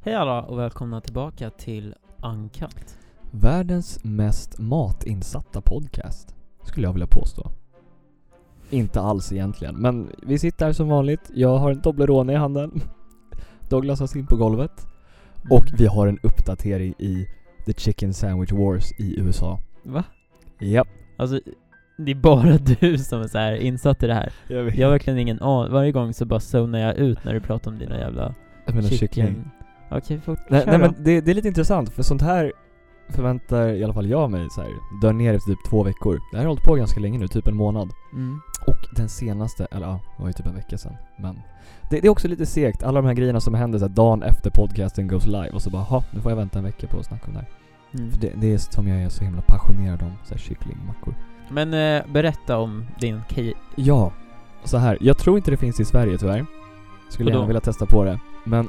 Hej alla och välkomna tillbaka till Uncut. Världens mest matinsatta podcast, skulle jag vilja påstå. Inte alls egentligen, men vi sitter här som vanligt. Jag har en Toblerone i handen. Douglas har sin på golvet. Och vi har en uppdatering i The Chicken Sandwich Wars i USA. Va? Japp. Alltså, det är bara du som är så här insatt i det här. Jag vet. Jag har verkligen ingen aning. Varje gång så bara zonar jag ut när du pratar om dina jävla Jag menar kyckling. chicken. Okej, fort. Nej, kör nej då. men det, det är lite intressant för sånt här förväntar i alla fall jag mig så här, dör ner efter typ två veckor. Det här har hållit på ganska länge nu, typ en månad. Mm. Och den senaste, eller ja, det var ju typ en vecka sedan. Men det, det är också lite segt, alla de här grejerna som händer så här, dagen efter podcasten goes live och så bara ha, nu får jag vänta en vecka på att snacka om det här. Mm. För det, det är som jag är så himla passionerad om, så här kycklingmackor. Men eh, berätta om din case. Ja, så här. jag tror inte det finns i Sverige tyvärr. Skulle Vadå? gärna vilja testa på det. Men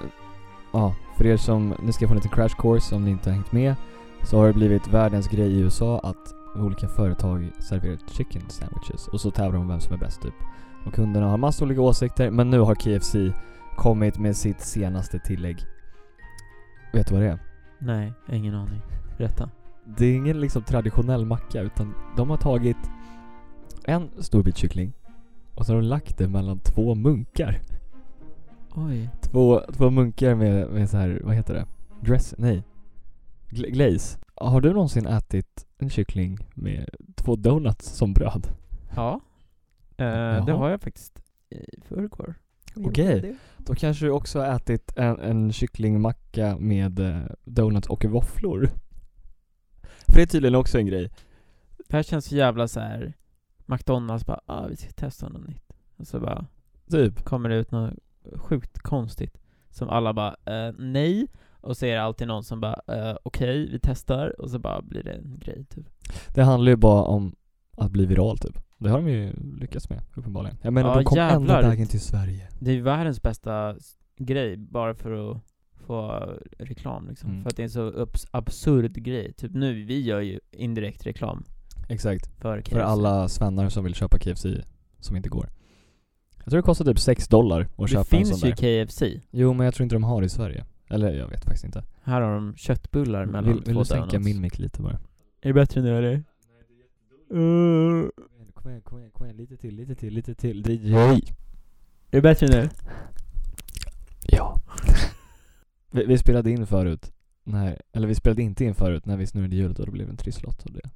ja, för er som, nu ska jag få en liten crash course om ni inte har hängt med. Så har det blivit världens grej i USA att olika företag serverar chicken sandwiches och så tävlar de om vem som är bäst typ. Och kunderna har massa olika åsikter men nu har KFC kommit med sitt senaste tillägg. Vet du vad det är? Nej, jag har ingen aning. Berätta. Det är ingen liksom traditionell macka utan de har tagit en stor bit kyckling och så har de lagt det mellan två munkar. Oj. Två, två munkar med, med så här, vad heter det? Dress? Nej. Gla- glaze. Har du någonsin ätit en kyckling med två donuts som bröd? Ja. Eh, Jaha. det har jag faktiskt i förrgår. Okej. Då kanske du också har ätit en, en kycklingmacka med eh, donuts och våfflor? För det är tydligen också en grej. Det här känns så jävla så här. McDonalds bara, ah, vi ska testa något nytt. Och så bara Typ. kommer det ut något sjukt konstigt som alla bara eh, nej och så är det alltid någon som bara eh, okej, vi testar och så bara blir det en grej typ. Det handlar ju bara om att bli viral typ. Det har de ju lyckats med uppenbarligen. Jag menar Ja, de kom jävlar. ända vägen till Sverige. Det är ju världens bästa s- grej bara för att få reklam liksom. Mm. För att det är en så ups- absurd grej. Typ nu, vi gör ju indirekt reklam Exakt. för KFC. För alla svennar som vill köpa KFC som inte går. Jag tror det kostar typ 6 dollar att Det köpa en sån finns ju där. KFC. Jo men jag tror inte de har det i Sverige. Eller jag vet faktiskt inte. Här har de köttbullar mellan Vill, två vill du sänka donuts. min mick lite bara? Är det bättre nu eller? Uh, Kom igen, kom igen, kom igen. Lite till, lite till, lite till. DJ. är det bättre nu? Ja. vi, vi spelade in förut. Nej, eller vi spelade inte in förut när vi snurrade hjulet och det blev en trisslott och det.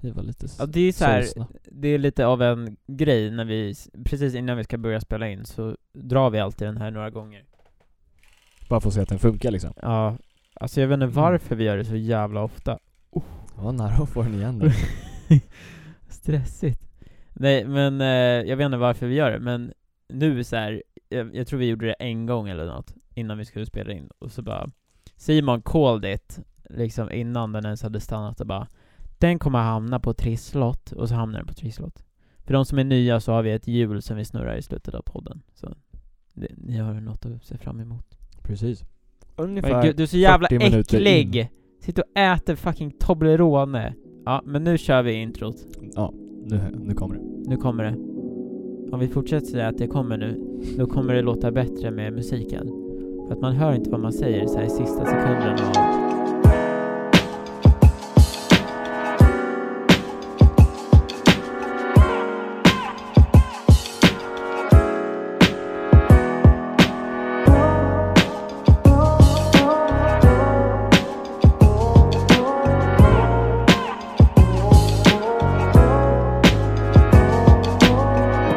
Vi var lite s- Ja, det är så här, sorgsna. det är lite av en grej när vi, precis innan vi ska börja spela in så drar vi alltid den här några gånger. Bara för att se att den funkar liksom. Ja, alltså jag vet inte Mm. varför vi gör det så jävla ofta. Jag var nära att få den igen där. Stressigt. Nej men eh, jag vet inte varför vi gör det, men nu så här, jag, jag tror vi gjorde det en gång eller något innan vi skulle spela in och så bara Simon called it, liksom innan den ens hade stannat och bara Den kommer hamna på trisslott och så hamnar den på trisslott. För de som är nya så har vi ett hjul som vi snurrar i slutet av podden. Så det, ni har något att se fram emot. Precis. Men gud, Ungefär. du är så jävla 40 minuter äcklig! in. Sitter och äter fucking Toblerone. Ja, men nu kör vi introt. Ja, nu, nu kommer det. Nu kommer det. Om vi fortsätter säga att det kommer nu, då kommer det låta bättre med musiken. För att man hör inte vad man säger så här i sista sekunden av...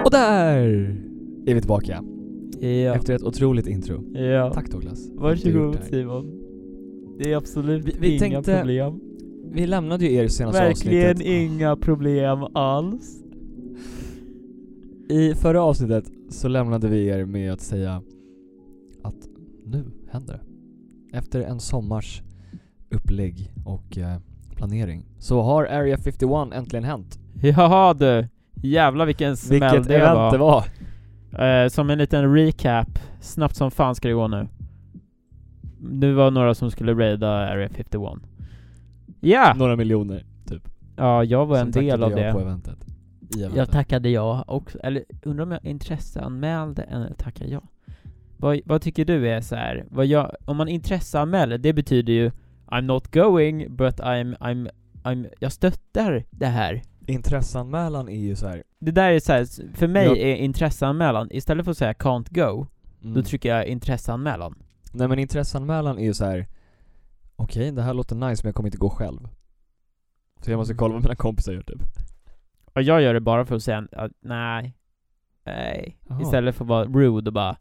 Och där är vi tillbaka. Ja. Efter ett otroligt intro. ja. Tack Douglas. Varsågod Tack. Simon. Det är absolut Vi- vi inga tänkte- problem. Vi lämnade ju er i senaste Verkligen avsnittet. inga problem alls. I förra avsnittet så lämnade vi er med att säga att nu händer det. Efter en sommars upplägg och eh, planering så har Area 51 äntligen hänt. Jaha du. Jävlar vilken smäll Vilket det event var. det var! Eh, som en liten recap, snabbt som fan ska det gå nu. Nu var några som skulle raida Area 51. Ja! Några miljoner. Ja, jag var Sen en del tackade av jag på det. eventet. I eventet. Jag tackade ja också, eller undrar om jag intresseanmälde eller tackade ja. Vad, vad tycker du är så här, vad jag, om man intresseanmäler, det betyder ju I'm not going, but I'm, I'm, I'm, jag stöttar det här. Intresseanmälan är ju så här. Det där är så här, s- för mig Jag- är intresseanmälan, istället för att säga can't go, Mm. då trycker jag intresseanmälan. Nej men intresseanmälan är ju så här. Okej, det här låter nice men jag kommer inte gå själv. Så jag måste kolla vad mina kompisar gör typ. Och jag gör det bara för att säga att nej, nej. Jaha. Istället för att vara rude och bara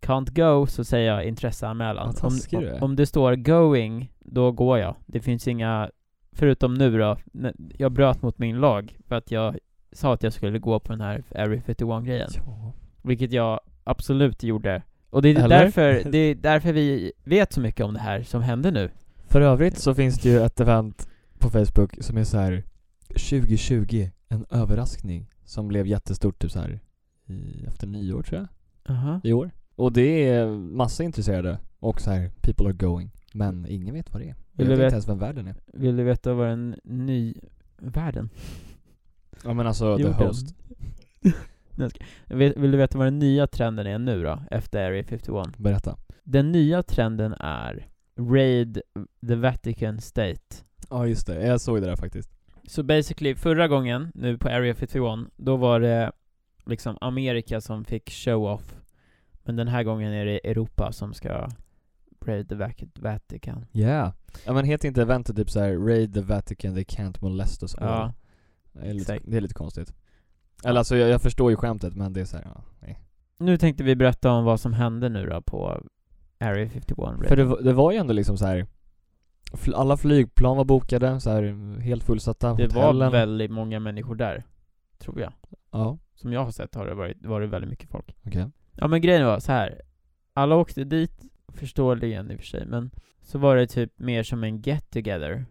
Can't go, så säger jag intresseanmälan. Vad Om, taskig du om, är. om det står going, då går jag. Det finns inga, förutom nu då, när- jag bröt mot min lag för att jag sa att jag skulle gå på den här Area 51-grejen. Ja. Vilket jag absolut gjorde. Och det är, Eller? därför, det är därför vi vet så mycket om det här som hände nu. För övrigt så finns det ju ett event på Facebook som är så här 2020, en överraskning som blev jättestort typ så här i, efter nyår tror jag, Aha. i år. Och det är massa intresserade och så här people are going. Men ingen vet vad det är. Jag Vill vet du inte veta- ens vem världen är. Vill du veta vad den ny... Världen? Ja men alltså the Jorden. host. Vill, vill du veta vad den nya trenden är nu då, efter Area 51? Berätta. Den nya trenden är Raid the Vatican State. Ja just det, jag såg det där faktiskt. Så basically, förra gången, nu på Area 51, då var det liksom Amerika som fick show-off. Men den här gången är det Europa som ska Raid the Vac- Vatican. Yeah. Ja men heter inte eventet typ så här Raid the Vatican, they can't molest us all. Ja, det, är lite, exakt. det är lite konstigt. Eller alltså jag, jag förstår ju skämtet men det är så här, ja, nej. nu tänkte vi berätta om vad som hände nu då på Area 51 Raid. För det, var- det var ju ändå liksom så här. fl- Alla flygplan var bokade, så här, helt fullsatta det var hotellen. väldigt många människor där, tror jag. Ja, Som jag har sett har det varit, varit väldigt mycket folk. okej. Ja men grejen var så här. alla åkte dit, förståeligen i och för sig, men så var det typ mer som en get together.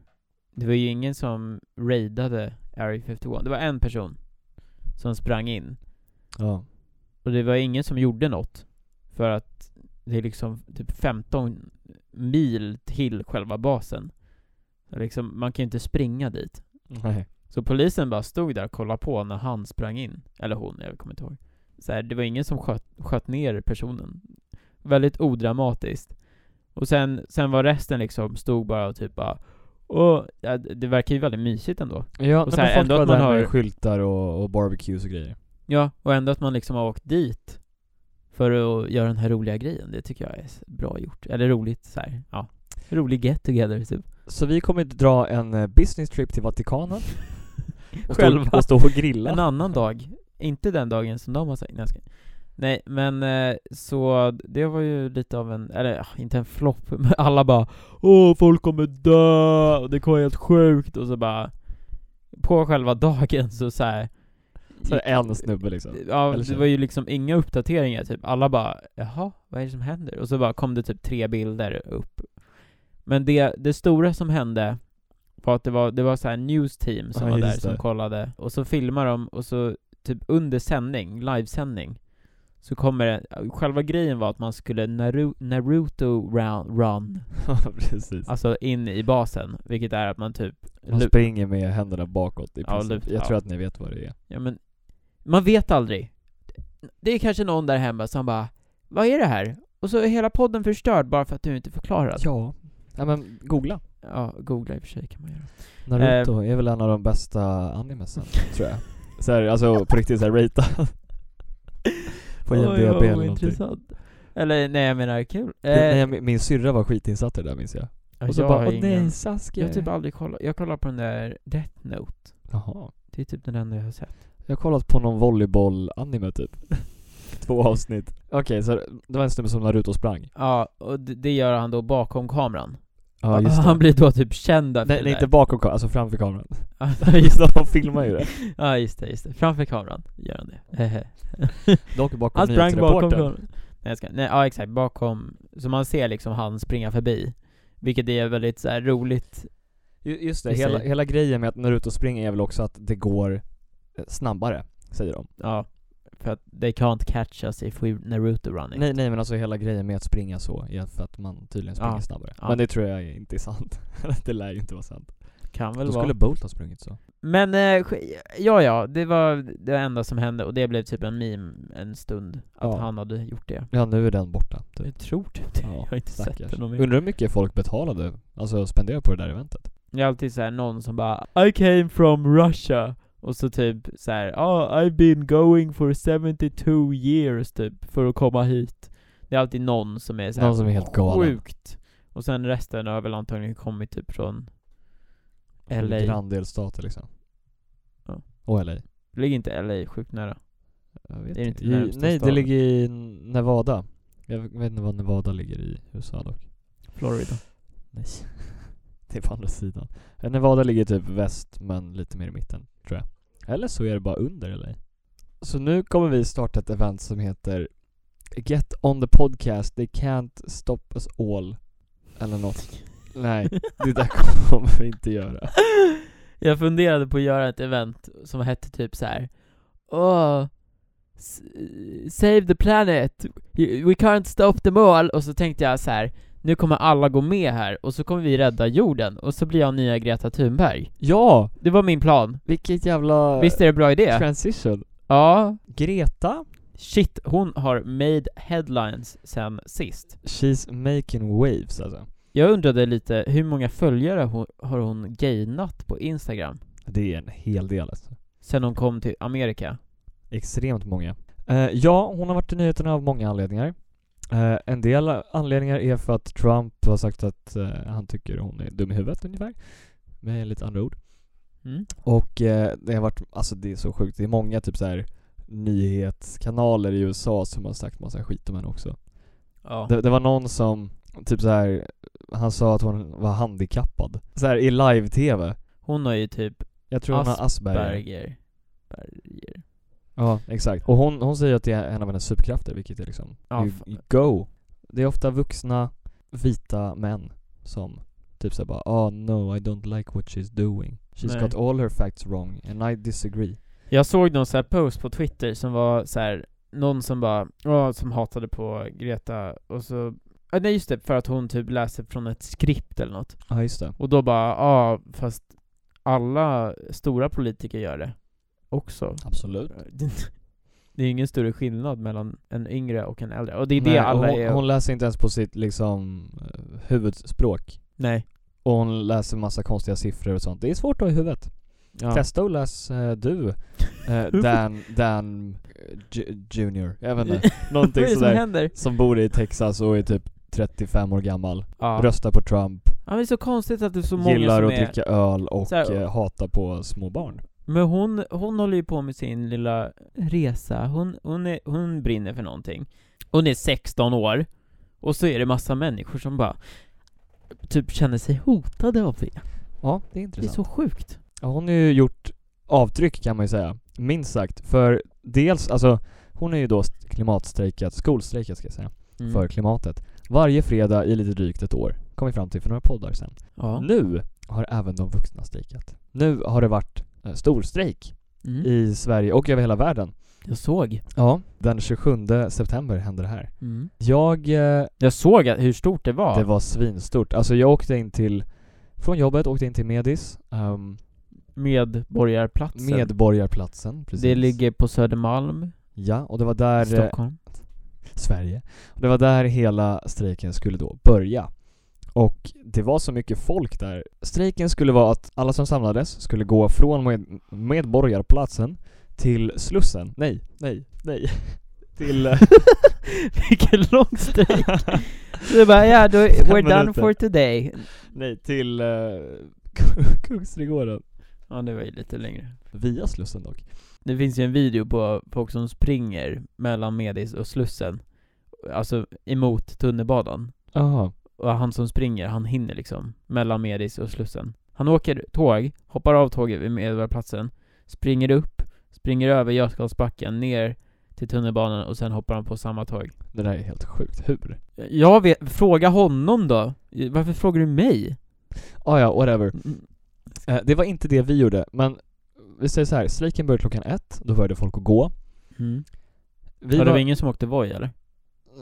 Det var ju ingen som raidade Area 51, det var en person som sprang in. Ja. Och det var ingen som gjorde något. För att det är liksom typ 15 mil till själva basen. Så Liksom, man kan ju inte springa dit. Nej. Så polisen bara stod där och kollade på när han sprang in. Eller hon, jag kommer inte ihåg. Så här, det var ingen som sköt, sköt ner personen. Väldigt odramatiskt. Och sen, sen var resten liksom, stod bara och typ bara och, ja, det det verkar ju väldigt mysigt ändå. Ja, Och och så så här, folk ändå var att man där har- med skyltar och, och barbecues och grejer. Ja, och ändå att man liksom har åkt dit för att göra den här roliga grejen. Det tycker jag är s- bra gjort. Eller roligt så här. ja. Rolig get together typ. Så vi kommer dra en eh, business trip till Vatikanen. och Själva. Stå, och stå och En grilla. annan dag. Inte den dagen som de har sagt. Nej, jag skojar. Nej men eh, så det var ju lite av en, eller ah, inte en flopp, men alla bara Åh folk kommer dö, och det kommer vara helt sjukt och så bara På själva dagen så så här. Så här, en snubbe liksom. Ja, Eller det så. var ju liksom inga uppdateringar typ. Alla bara ”Jaha, vad är det som händer?” och så bara kom det typ tre bilder upp. Men det, det stora som hände var att det var, det var så här news team som Ja, var där just som det. kollade och så filmar de och så typ under sändning, livesändning så kommer det, själva grejen var att man skulle Naru, Naruto run, run, Ja, precis. alltså in i basen, vilket är att man typ, Man lu- springer med händerna bakåt i Ja, princip. lut- Jag ja. tror att ni vet vad det är. ja men, man vet aldrig. Det är kanske någon där hemma som bara, vad är det här? Och så är hela podden förstörd bara för att du inte förklarat. Ja, Ja. Nej men googla. googla i och för sig kan man göra. Naruto Ehm. är väl en av de bästa animesen, tror jag. Så här, alltså på riktigt såhär rata. på IMDB Oj, vad eller någonting. ointressant. Eller nej jag menar kul. Det- Eh, Nej, min, min syrra var skitinsatt i det där minns jag. Ja, Och så jag bara har åh ingen- nej Sasuke. Jag har typ aldrig kollat, jag kollar på den där Death Note. Jaha. Det är typ den enda jag har sett. Jag har kollat på någon volleyboll-anime typ. Två avsnitt. Okej, så det var en snubbe som Naruto sprang. Ja, och det, det gör han då bakom kameran. Ja Han blir då typ känd för Nej, det nej där. inte bakom kameran, alltså framför kameran. Ja, just, det, de filmar ju det. ja just det, just det. Framför kameran gör han det. Hehe. Dock bakom han sprang bakom nyhetsreportern. kameran. Nej, jag ska, nej, ja exakt, bakom, så man ser liksom han springa förbi. Vilket är väldigt så här roligt. Ju- Just det, I hela, sig. hela grejen med att Naruto springer är väl också att det går eh, snabbare, säger de. Ja, för att they can't catch us if we Naruto running. Nej, nej men alltså hela grejen med att springa så är för att man tydligen springer Ja, snabbare. ja. Men det tror jag inte är sant. det lär ju inte vara sant. Kan väl Då vara. skulle Bolt ha sprungit så. Men, eh, sk- ja ja, det var det enda som hände och det blev typ en meme en stund, att Ja. han hade gjort det. Ja, nu är den borta. Typ. Jag tror typ det, Ja, jag har inte sett Stackars. det någon mer. Undrar hur mycket folk betalade, alltså spenderade på det där eventet. Det är alltid så här någon som bara I came from Russia och så typ så här, oh, I've been going for 72 years typ för att komma hit. Det är alltid någon som är så här Någon som är helt galen. sjukt. Och sen resten har väl antagligen kommit typ från LA. Granndelstater liksom. Ja. Och LA. Ligger inte LA sjukt nära? Jag vet Det är inte I, närmsta Nej, det staden. ligger i Nevada. Jag vet inte var Nevada ligger i USA dock. Florida. Nej. det är på andra sidan. Eh, Nevada ligger typ väst, men lite mer i mitten, tror jag. Eller så är det bara under LA. Så nu kommer vi starta ett event som heter Get on the podcast, they can't stop us all. Eller något. Nej, det där kommer vi inte göra. Jag funderade på att göra ett event som hette typ så här. Åh, s- save the planet, we can't stop them all. Och så tänkte jag så här. nu kommer alla gå med här och så kommer vi rädda jorden och så blir jag nya Greta Thunberg. Ja! Det var min plan. Vilket jävla Visst är det bra idé? transition. Ja. Greta? Shit, hon har made headlines sen sist. She's making waves alltså. Jag undrade lite, hur många följare hon, har hon gainat på Instagram? Det är en hel del alltså. Sen hon kom till Amerika? Extremt många. Eh, ja, hon har varit i nyheterna av många anledningar. Eh, en del anledningar är för att Trump har sagt att eh, han tycker hon är dum i huvudet ungefär. Med lite andra ord. Mm. Och eh, det har varit, alltså det är så sjukt. Det är många typ så här nyhetskanaler i USA som har sagt massa skit om henne också. Ja. Det, det var någon som, typ så här han sa att hon var handikappad. Så här i live-tv. Hon har ju typ Jag tror hon har Asperger. Berger. Berger. Ja, exakt. Och hon, hon säger att det är en av hennes superkrafter, vilket är liksom Ja, you, fan. you go. Det är ofta vuxna, vita män som typ såhär bara oh no I don't like what she's doing. She's Nej. got all her facts wrong and I disagree. Jag såg någon så här post på Twitter som var så här någon som bara, ja, som hatade på Greta och så Ja, nej just det, för att hon typ läser från ett skript eller något. Ja ah, just det. Och då bara, ja fast alla stora politiker gör det också. Absolut. Det är ingen större skillnad mellan en yngre och en äldre. Och det är Nej, det och alla hon, är... hon läser inte ens på sitt liksom eh, huvudspråk. nej. Och hon läser massa konstiga siffror och sånt. Det är svårt att ha i huvudet. Ja. Testa och läs eh, du, eh, Dan, Dan eh, Ju- Junior. Jag vet inte. Vad Någonting är det som sådär. händer? som bor i Texas och är typ 35 år gammal, Ja. röstar på Trump, ja, men det är så konstigt att det är så många gillar som att är... dricka öl och Så här- eh, hatar på små barn. Men hon, hon håller ju på med sin lilla resa, hon, hon, är, hon brinner för någonting. Hon är 16 år, och så är det massa människor som bara typ känner sig hotade av det. Ja, det Det är är intressant. så sjukt. Ja, Hon har ju gjort avtryck kan man ju säga, minst sagt. För dels, alltså hon har ju då st- klimatstrejkat, skolstrejkat ska jag säga, Mm. för klimatet. Varje fredag i lite drygt ett år, kom vi fram till för några poddar sen. Ja. Nu har även de vuxna strejkat. Nu har det varit eh, storstrejk Mm. i Sverige och över hela världen. Jag såg. Ja, den 27 september hände det här. Mm. Jag eh, Jag såg att- hur stort det var. Det var svinstort. Alltså jag åkte in till, från jobbet åkte in till Medis, um, Medborgarplatsen. Medborgarplatsen precis. Det ligger på Södermalm, Ja, och det var där, eh, Stockholm. Sverige, och det var där hela strejken skulle då börja. Och det var så mycket folk där. Strejken skulle vara att alla som samlades skulle gå från med, Medborgarplatsen till Slussen. Nej, nej, nej. Till... eh, Vilken lång strejk. Så det bara, ja, då, we're done minuter. for today. nej, till eh, Kungsträdgården. Ja, det var ju lite längre. Via Slussen dock. Det finns ju en video på folk som springer mellan Medis och Slussen Alltså emot tunnelbanan Jaha. Och han som springer, han hinner liksom mellan Medis och Slussen Han åker tåg, hoppar av tåget vid Medborgarplatsen Springer upp, springer över Götgatsbacken ner till tunnelbanan och sen hoppar han på samma tåg Det där är helt sjukt. Hur? Jag vet, fråga honom då! Varför frågar du mig? Ah, ja, whatever. Eh, det var inte det vi gjorde, men vi säger så här. strejken började klockan ett, då började folk att gå. Mm. Vi ja, det var- var ingen som åkte Voi eller?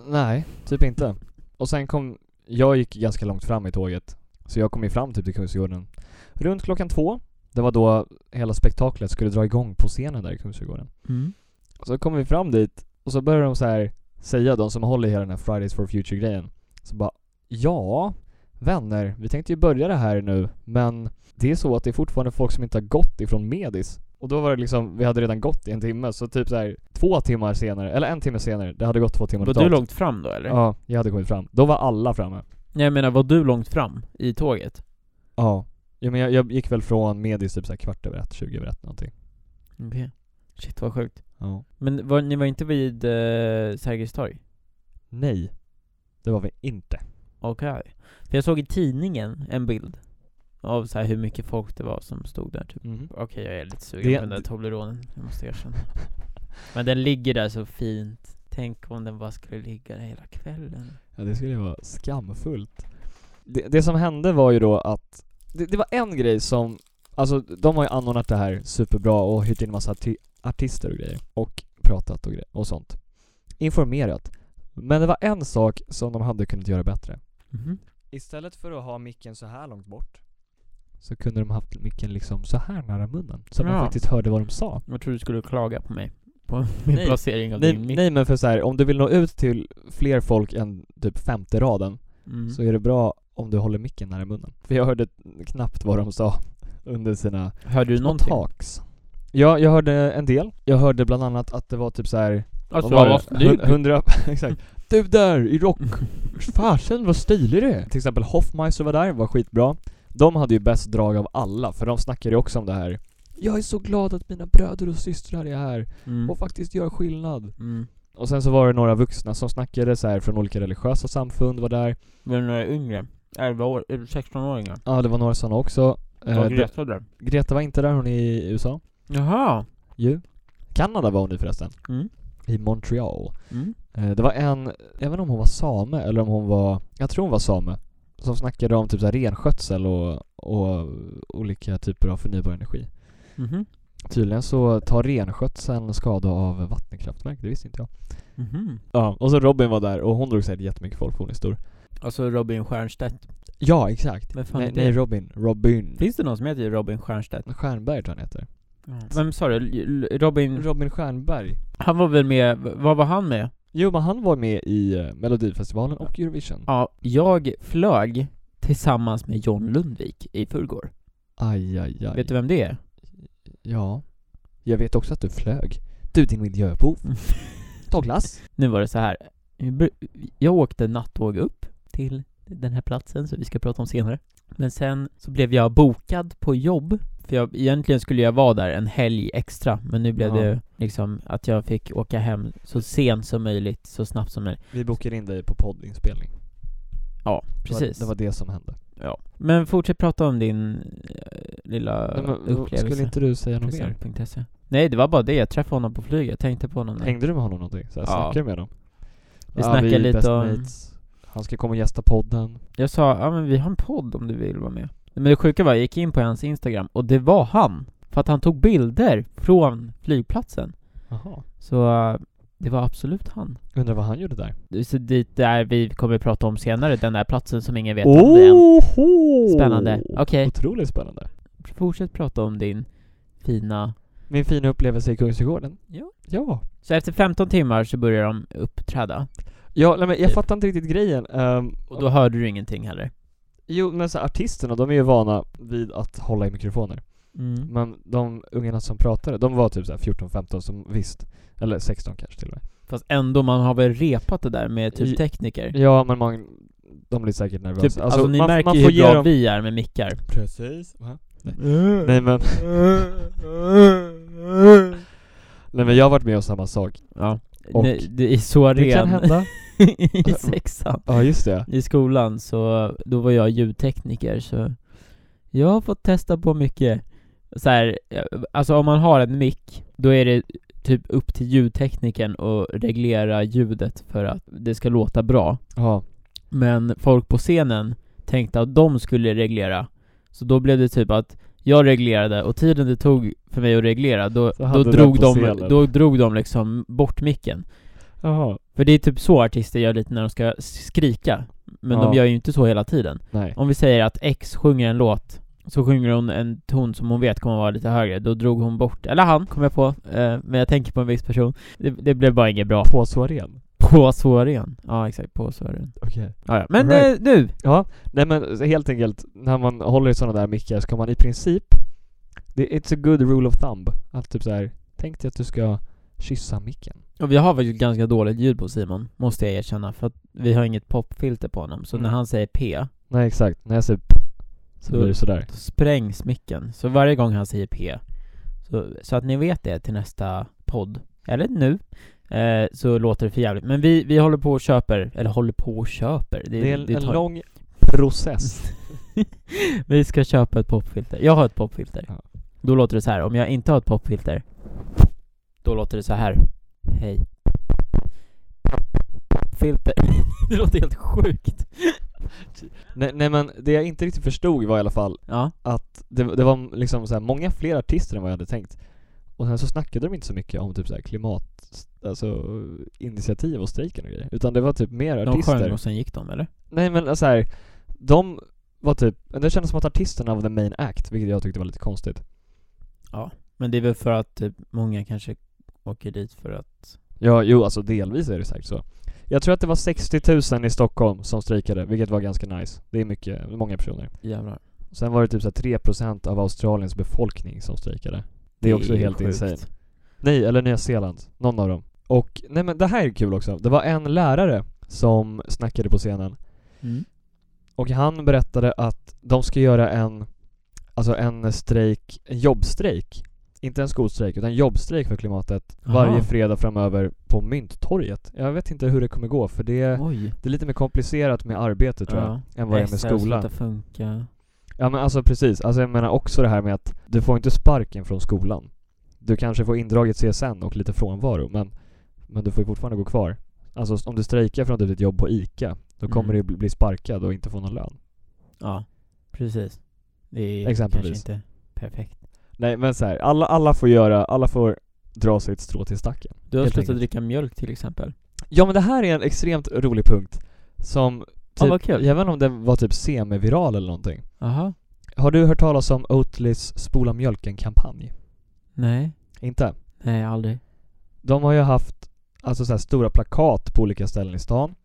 Nej, typ inte. Och sen kom, jag gick ganska långt fram i tåget Så jag kom ju fram typ till Kungsgården runt klockan två. Det var då hela spektaklet skulle dra igång på scenen där i Kungsgården. Mm. Och så kommer vi fram dit och så börjar de så här säga, de som håller i hela den här Fridays for Future-grejen. Så bara, ja, vänner, vi tänkte ju börja det här nu, men det är så att det är fortfarande folk som inte har gått ifrån Medis. Och då var det liksom, vi hade redan gått i en timme, så typ så här två timmar senare, eller en timme senare, det hade gått två timmar Var du totalt. långt fram då eller? Ja, jag hade kommit fram. Då var alla framme. Nej, jag menar, var du långt fram i tåget? Ja. Ja, men jag, jag gick väl från Medis typ så här kvart över ett, tjugo över ett någonting. Okej. Shit vad sjukt. Ja. Men var, ni var inte vid eh, Sergels torg? Nej. Det var vi inte. Okej. För jag såg i tidningen en bild av så här hur mycket folk det var som stod där typ. Mhm. Okej, jag är lite sugen Det- på den där Tobleronen, jag måste erkänna. Men den ligger där så fint. Tänk om den bara skulle ligga där hela kvällen. Ja, det skulle ju vara skamfullt. Det, det som hände var ju då att det, det var en grej som, alltså de har ju anordnat det här superbra och hyrt in massa arti- artister och grejer och pratat och, gre- och sånt. Informerat. Men det var en sak som de hade kunnat göra bättre. Mhm. Istället för att ha micken så här långt bort så kunde de haft micken liksom så här nära munnen. Så att Ja. man faktiskt hörde vad de sa. Jag tror du skulle klaga på mig. På min Nej, placering av Nej, din mick. nej men för så här, om du vill nå ut till fler folk än typ femte raden Mm. så är det bra om du håller micken nära munnen. För jag hörde knappt vad de sa under sina Hörde du små någonting? talks. Ja, jag hörde en del. Jag hörde bland annat att det var typ så här, Alltså, vad var vad det? Hun- snygg. hundra, exakt. Du där i rock, fasen vad stilig du är. Till exempel Hoffmeister var där, var skitbra. De hade ju bäst drag av alla, för de snackade ju också om det här. Jag är så glad att mina bröder och systrar är här Mm. och faktiskt gör skillnad. Mm. Och sen så var det några vuxna som snackade så här från olika religiösa samfund var där. Var det några yngre? 11 år, eller 16-åringar? Ja, det var några sådana också. Eh, Var det- Greta där? Greta var inte där, hon är i USA. Jaha! Ju. Kanada var hon i förresten. Mm. I Montreal. Mm. Eh, Det var en, jag vet inte om hon var same eller om hon var, jag tror hon var same, som snackade om typ så här renskötsel och, och olika typer av förnybar energi. Mhm. Tydligen så tar renskötseln skada av vattenkraftverk, det visste inte jag. Mhm. Ja, och så Robin var där och hon drog säkert jättemycket folk på hon är stor. Alltså Robin Stiernstedt. Ja, exakt. Vem fan Nej, är det? nej, Robin. Robin. Finns det någon som heter Robin Stiernstedt? Stjernberg tror jag han heter. Vem sa du? L- L- Robin... Robin Stjernberg. Han var väl med, v- vad var han med? Jo men han var med i eh, Melodifestivalen och Eurovision. Ja, jag flög tillsammans med John Lundvik i förrgår. Aj, aj, aj. Vet du vem det är? Ja. Jag vet också att du flög. Du din miljöbov. Mm. Douglas. Nu var det så här. eh, jag åkte nattåg upp till den här platsen som vi ska prata om senare. Men sen så blev jag bokad på jobb, för jag, egentligen skulle jag vara där en helg extra, men nu blev Ja. det liksom att jag fick åka hem så sent som möjligt, så snabbt som möjligt. Vi bokade in dig på poddinspelning. Ja, Det var- precis. Det var det som hände. Ja. Men fortsätt prata om din eh, lilla Nej, men, upplevelse. skulle inte du säga något mer? Present.se. Nej, det var bara det. Jag träffade honom på flyget. Jag tänkte på honom. där. Hängde du med honom någonting? Så här, Ja. Snackade du med honom? Vi snackade är lite best om- mates. Han ska komma och gästa podden. Jag sa, ja men vi har en podd om du vill vara med. Men det sjuka var, jag gick in på hans Instagram och det var han. För att han tog bilder från flygplatsen. Jaha. Så eh, det var absolut han. Undrar vad han gjorde där? Det- Så dit där vi kommer prata om senare, den där platsen som ingen vet om det Oh! än. Oho! Spännande. Okej. Otroligt spännande. Fortsätt prata om din fina... Min fina upplevelse i Kungsträdgården? Ja. Ja. Så efter 15 timmar så börjar de uppträda. Ja, nej, men jag Typ. fattar inte riktigt grejen. Ehm, Och då hörde du ingenting heller. Jo, men så här, artisterna, de är ju vana vid att hålla i mikrofoner. Mm. Men de ungarna som pratade, de var typ så här 14-15 som visst. Eller 16 kanske till och med. Fast ändå, man har väl repat det där med I- typ tekniker? Ja, men man, de blir säkert nervösa. Typ, alltså, ni märker ju får hur ge bra dem- vi är med mickar. Precis. Va? Nej men, nej men jag har varit med om samma sak. Ja. Och- Nej, det är så Det kan ren. hända. I sexan. Ja, just det. I skolan så, då var jag ljudtekniker så jag har fått testa på mycket. Så här, eh, alltså om man har en mick, då är det typ upp till ljudteknikern att reglera ljudet för att det ska låta bra. Ja. Men folk på scenen tänkte att de skulle reglera. Så då blev det typ att jag reglerade och tiden det tog för mig att reglera, då, Så då, hade du drog, den på de, scenen. då drog de liksom bort micken. Jaha. För det är typ så artister gör lite när de ska skrika. Men Ja. de gör ju inte så hela tiden. Nej. Om vi säger att X sjunger en låt, så sjunger hon en ton som hon vet kommer vara lite högre, då drog hon bort, eller han kom jag på, eh, men jag tänker på en viss person. Det, det blev bara inget bra. På Soaren. På Soren. Ja exakt, på Soren. Okej. Ja, ja. Men Alright. eh, nu! Ja, nej men så helt enkelt, när man håller i sådana där mickar så kan man i princip det, It's a good rule of thumb. Att typ såhär, tänk dig att du ska kyssa micken. Och vi har faktiskt ganska dåligt ljud på Simon, måste jag erkänna, för att vi har inget popfilter på honom, så Mm. när han säger P, Nej exakt, när jag säger p- så Då- blir det sådär. då sprängs micken. Så varje gång han säger P, så, så att ni vet det till nästa podd, eller nu, eh, så låter det för jävligt. Men vi, vi håller på och köper, eller håller på och köper. Det är en, en tar- lång process. Vi ska köpa ett popfilter. Jag har ett popfilter. Ja. Då låter det så här. om jag inte har ett popfilter, då låter det så här. Hej. Filter. det låter helt sjukt. nej, nej men det jag inte riktigt förstod var i alla fall Ja. att det, det var liksom så här, många fler artister än vad jag hade tänkt. Och sen så snackade de inte så mycket om typ så här klimat, alltså initiativ och strejken och grejer. Utan det var typ mer De artister. sjöng och sen gick de eller? Nej men alltså, så här, de var typ, det kändes som att artisterna var the main act, vilket jag tyckte var lite konstigt. Men det är väl för att typ, många kanske åker dit för att... Ja, jo alltså delvis är det säkert så. Jag tror att det var 60 000 i Stockholm som strejkade, vilket var ganska nice. Det är mycket, många personer. Jävlar. Sen var det typ så här 3% av Australiens befolkning som strejkade. Det är också ju helt sjukt. insane. Nej, eller Nya Zeeland. Någon av dem. Och, nej men det här är kul också. Det var en lärare som snackade på scenen Mm. Och han berättade att de ska göra en, alltså en strejk, en jobbstrejk. Inte en skolstrejk, utan en jobbstrejk för klimatet Aha. varje fredag framöver på Mynttorget. Jag vet inte hur det kommer gå, för det, Oj. det är lite mer komplicerat med arbete tror Ja. jag, än vad Eh, det är med SR skolan. slutar funka. Ja men alltså precis, alltså jag menar också det här med att du får inte sparken från skolan. Du kanske får indraget CSN och lite frånvaro, men, men du får ju fortfarande gå kvar. Alltså om du strejkar från typ ditt jobb på ICA, då kommer Mm. du bli- bli sparkad och inte få någon lön. Ja, precis. Det är Exempelvis. kanske inte perfekt. Nej men så här, alla, alla får göra, alla får dra sitt strå till stacken. Du har Helt slutat enkelt. dricka mjölk till exempel. Ja men det här är en extremt rolig punkt som typ, Ja, vad kul. jag vet inte om den var typ semiviral eller någonting. Jaha. Har du hört talas om Oatlys spola mjölken-kampanj? Nej. Inte? Nej, aldrig. De har ju haft alltså så här, stora plakat på olika ställen i stan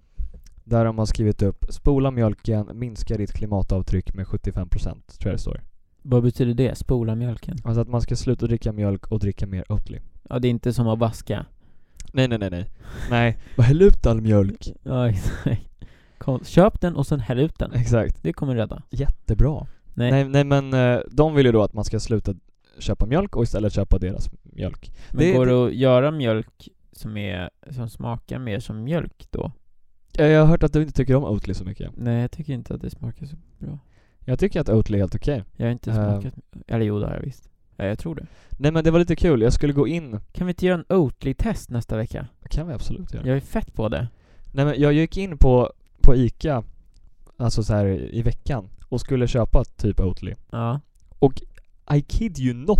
där de har skrivit upp spola mjölken, minska ditt klimatavtryck med 75% tror jag det står. Vad betyder det? Spola mjölken? Alltså att man ska sluta dricka mjölk och dricka mer Oatly. Ja, det är inte som att vaska. Nej nej nej nej. nej, bara häll ut all mjölk. Ja, exakt. Kom, köp den och sen häll ut den. Exakt. Det kommer rädda. Jättebra. Nej. Nej, nej men eh, de vill ju då att man ska sluta köpa mjölk och istället köpa deras mjölk. Men Det- går det- det att göra mjölk som, är, som smakar mer som mjölk då? Eh, Jag har hört att du inte tycker om Oatly så mycket. Nej, jag tycker inte att det smakar så bra. Jag tycker att Oatly är helt okej. Jag har inte Eh. smakat... Eller jo, det har jag visst. Ja, jag tror det. Nej men det var lite kul, jag skulle gå in, Kan vi inte göra en Oatly-test nästa vecka? kan vi absolut göra. Jag är fett på det. Nej men jag gick in på, på ICA, alltså så här i veckan, och skulle köpa typ Oatly. Ja. I kid you not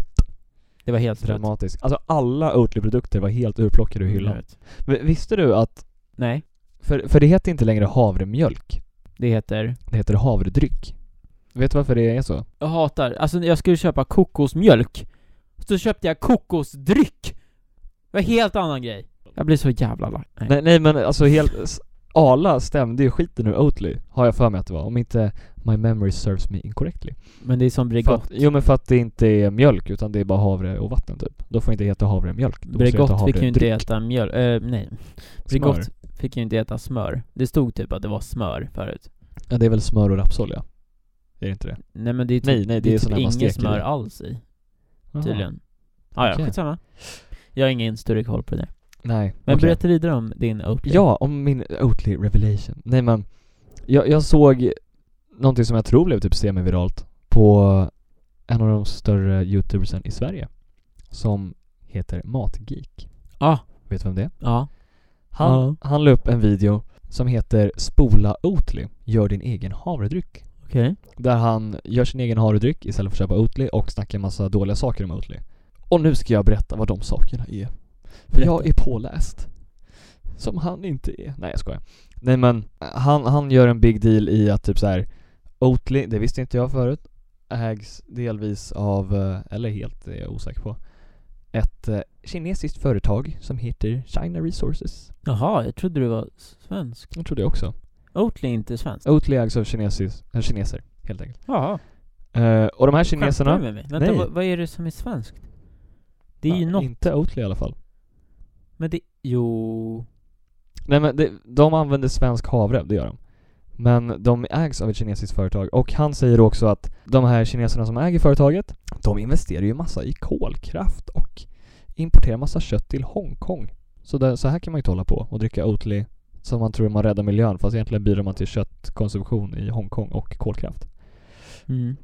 Det var helt rätt. dramatiskt. Alltså alla Oatly-produkter var helt urplockade Mm. ur hyllan. Men Visste du att, Nej, för, för det heter inte längre havremjölk, det heter... det heter havredryck. Vet du varför det är så? Jag hatar, alltså när jag skulle köpa kokosmjölk Så köpte jag kokosdryck! Det var en helt annan grej Jag blir så jävla lack Nej. Nej, nej men alltså helt... s- Arla stämde ju skiten ur Oatly, har jag för mig att det var. Om inte my memory serves me incorrectly. Men det är som För Bregott, att, jo men för att det inte är mjölk, utan det är bara havre och vatten typ. Då får det inte heta havremjölk. Då måste det heta Bregott fick ju inte havredryck. äta mjöl, eh, nej Smör. Bregott fick ju inte äta smör Det stod typ att det var smör förut Ja det är väl smör och rapsolja? Är det inte det? Nej men det är typ, Nej, nej, det är sån typ här man inget steker i. smör alls i, Jaha. tydligen ah, ja, Okej. skitsamma Jag har ingen större koll på det Nej. Men okej. berätta vidare om din Oatly Ja, om min Oatly revelation. Nej men, jag, jag såg någonting som jag tror blev typ semiviralt på en av de större youtubersen i Sverige. Som heter Matgeek. Ja, Vet du vem det är? ja, Han, Ja. han la upp en video som heter Spola Oatly, gör din egen havredryck. okej Där han gör sin egen havredryck istället för att köpa Oatly och snackar massa dåliga saker om Oatly. Och nu ska jag berätta vad de sakerna är. För Berätta. jag är påläst. Som han inte är. Nej jag skojar. Nej men, eh, han, han gör en big deal i att typ så här Oatly, det visste inte jag förut, ägs delvis av, eh, eller helt, det är jag osäker på, ett eh, kinesiskt företag som heter China Resources. Jaha, jag trodde du var svensk. Jag tror det också. Oatly är inte svensk. Oatly ägs av kinesis, äh, kineser, helt enkelt. Jaha. Eh, och de här kineserna... Skämtar du med mig? Vänta, Nej. vad, vad är det som är svenskt? Det är ju Ja, något, Inte Oatly i alla fall. men det... Jo... Nej men det, de använder svensk havre, det gör de. Men de ägs av ett kinesiskt företag och han säger också att de här kineserna som äger företaget, de investerar ju massa i kolkraft och importerar massa kött till Hongkong. Så, där, så här kan man ju inte hålla på och dricka Oatly som man tror man räddar miljön fast egentligen bidrar man till köttkonsumtion i Hongkong och kolkraft. Mm.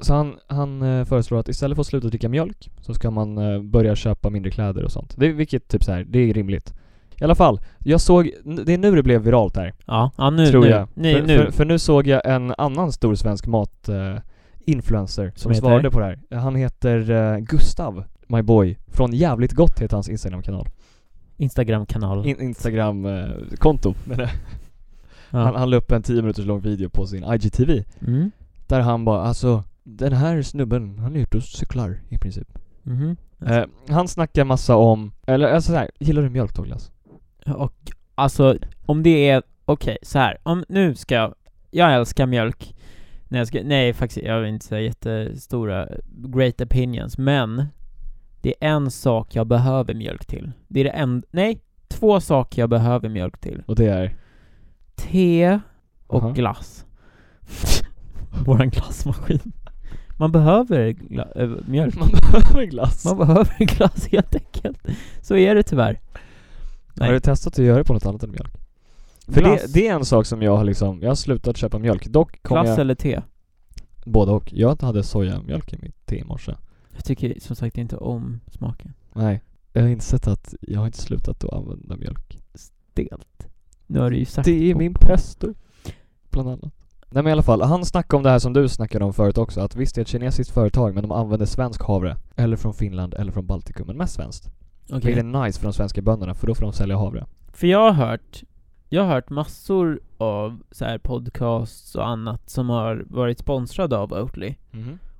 Så han, han eh, föreslår att istället för att sluta dricka mjölk så ska man eh, börja köpa mindre kläder och sånt. Det, vilket typ så här, det är rimligt. I alla fall, jag såg, n- det är nu det blev viralt här, Ja, ja nu, tror nu. jag. Nej, för, nu. För, för nu såg jag en annan stor svensk mat eh, influencer som, Som heter? svarade på det här. Han heter eh, Gustav, my boy. Från Jävligt Gott heter hans Instagramkanal. Instagram-kanal. In, Instagram-konto. ja. han, han la upp en 10 minuters lång video på sin IGTV. mm. Där han bara alltså, den här snubben, han är ute och cyklar i princip. Mhm. Eh, han snackar massa om, eller alltså så här, gillar du mjölk Douglas? Och alltså, om det är, okej så här. om nu ska jag, jag älskar mjölk. När jag ska, nej faktiskt, jag har inte så här jättestora great opinions, men det är en sak jag behöver mjölk till. Det är det en, nej, två saker jag behöver mjölk till. Och det är? Te och Aha. glass. Våran glassmaskin. Man behöver gla- äh, mjölk. Man behöver glass. Man behöver glass helt enkelt. Så är det tyvärr. Har du testat att göra det på något annat än mjölk? För glass, det, det är en sak som jag har liksom, jag har slutat köpa mjölk. Dock kom glass jag, eller te? både och. Jag hade sojamjölk i mitt te i morse. Jag tycker som sagt inte om smaken. Nej. Jag har insett att jag har inte slutat att använda mjölk. Stelt. Nu har du ju sagt Det är på- min på- pesto. Bland annat. Nej men i alla fall, han snackade om det här som du snackade om förut också, att visst det är ett kinesiskt företag men de använder svensk havre. Eller från Finland eller från Baltikum, men mest svenskt. Okej. Vilket är nice för de svenska bönderna för då får de sälja havre. För jag har hört, jag har hört massor av så här podcasts och annat som har varit sponsrade av Oatly.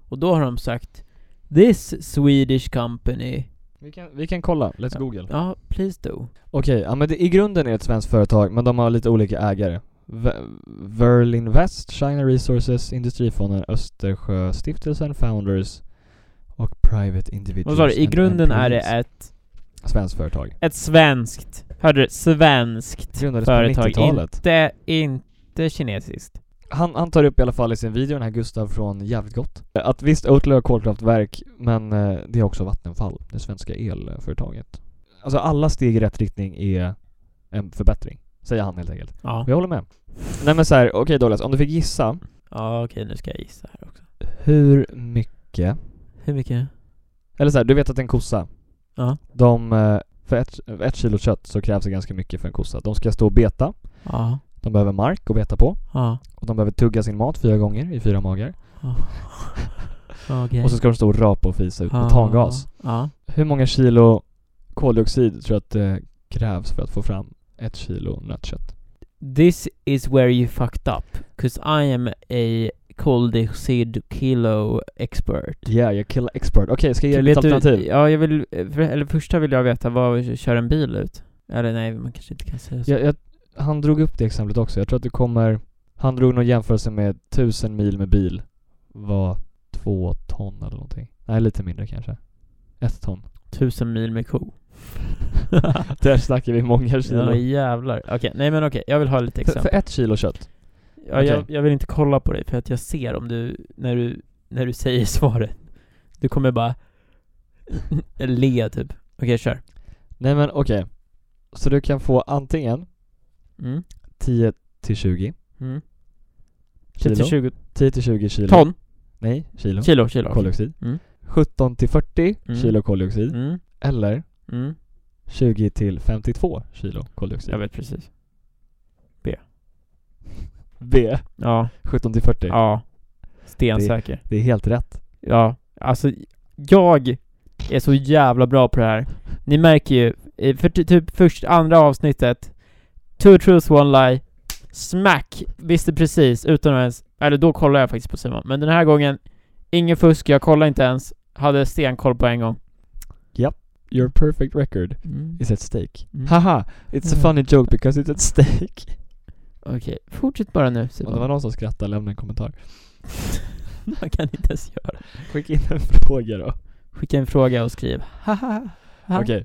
Och då har de sagt This Swedish company, Vi, kan, vi kan kolla, let's google. ja please do. Okej, ja, men det, i grunden är det ett svenskt företag men de har lite olika ägare. Ve- Verlinvest, China Resources, Industrifonden, Östersjöstiftelsen, Founders och Private Individuals. Vad sa du? I and grunden är det employees. ett, Svenskt företag. ett svenskt, hörde du? Svenskt Grundades på företag. 90-talet. Inte, inte kinesiskt. Han, han tar upp i alla fall i sin video, den här Gustav från Jävligt Gott, att visst Oatly har kolkraftverk men eh, det är också Vattenfall, det svenska elföretaget. Alltså alla steg i rätt riktning är en förbättring, säger han helt enkelt. Ja. Och jag håller med. Nej men så här, okej Douglas, om du fick gissa, Ja okej, nu ska jag gissa här också. hur mycket, Hur mycket? eller så här, du vet att en kossa, Ja. de, eh, för ett, för ett kilo kött så krävs det ganska mycket för en kossa. De ska stå och beta, Ja. de behöver mark att beta på, Ja. och de behöver tugga sin mat fyra gånger i fyra magar. Okej. Och så ska de stå och rapa och fisa ut Ja. metangas. Ah, Ja. Hur många kilo koldioxid tror du att det krävs för att få fram ett kilo nötkött? This is where you fucked up, cause I am a koldioxid kilo expert. Yeah, jag killar expert. Okej, ska jag ge dig lite Vet du- Typ alternativ? Ja, jag vill, för, eller första vill jag veta vad kör en bil ut? Eller nej, man kanske inte kan säga så. Jag, jag, han drog upp det exemplet också. Jag tror att det kommer... Han drog någon jämförelse med tusen mil med bil var två ton eller någonting. Nej, lite mindre kanske. Ett ton. Tusen mil med ko. Där snackar vi många kilo. ja liksom. jävlar. Okej, nej men okej, jag vill ha lite för, för exempel. ett kilo kött. Ja, jag, okej. jag vill inte kolla på dig för att jag ser om du, när du, när du säger svaret. Du kommer bara le typ. Okej, kör. Nej men okej. Så du kan få antingen Mm. 10 till 20 Mm. kilo. 20 10 till 20 kilo. ton. Nej, kilo. Kilo, kilo. koldioxid. Mm. 17 till 40 Mm. kilo koldioxid. Mm. Eller Mm. 20 till 52 kilo koldioxid. Jag vet precis. B. Ja. 17 till 40. Ja. Stensäker. Det är helt rätt. Ja. Alltså, jag är så jävla bra på det här. Ni märker ju, eh, för ty- typ först, andra avsnittet, two truths, one lie, Smack! Visste precis, utan att ens... Eller då kollade jag faktiskt på Simon, men den här gången, ingen fusk, jag kollade inte ens. Hade stenkoll på en gång. Your perfect record Mm. is at stake. Mm. Haha! It's a Mm. funny joke because it's at stake. Okej, fortsätt bara nu Om det var Simon. någon som skrattade, lämna en kommentar. Man kan inte ens göra det. Skicka in en fråga då. Skicka en fråga och skriv haha. Ja. Okej.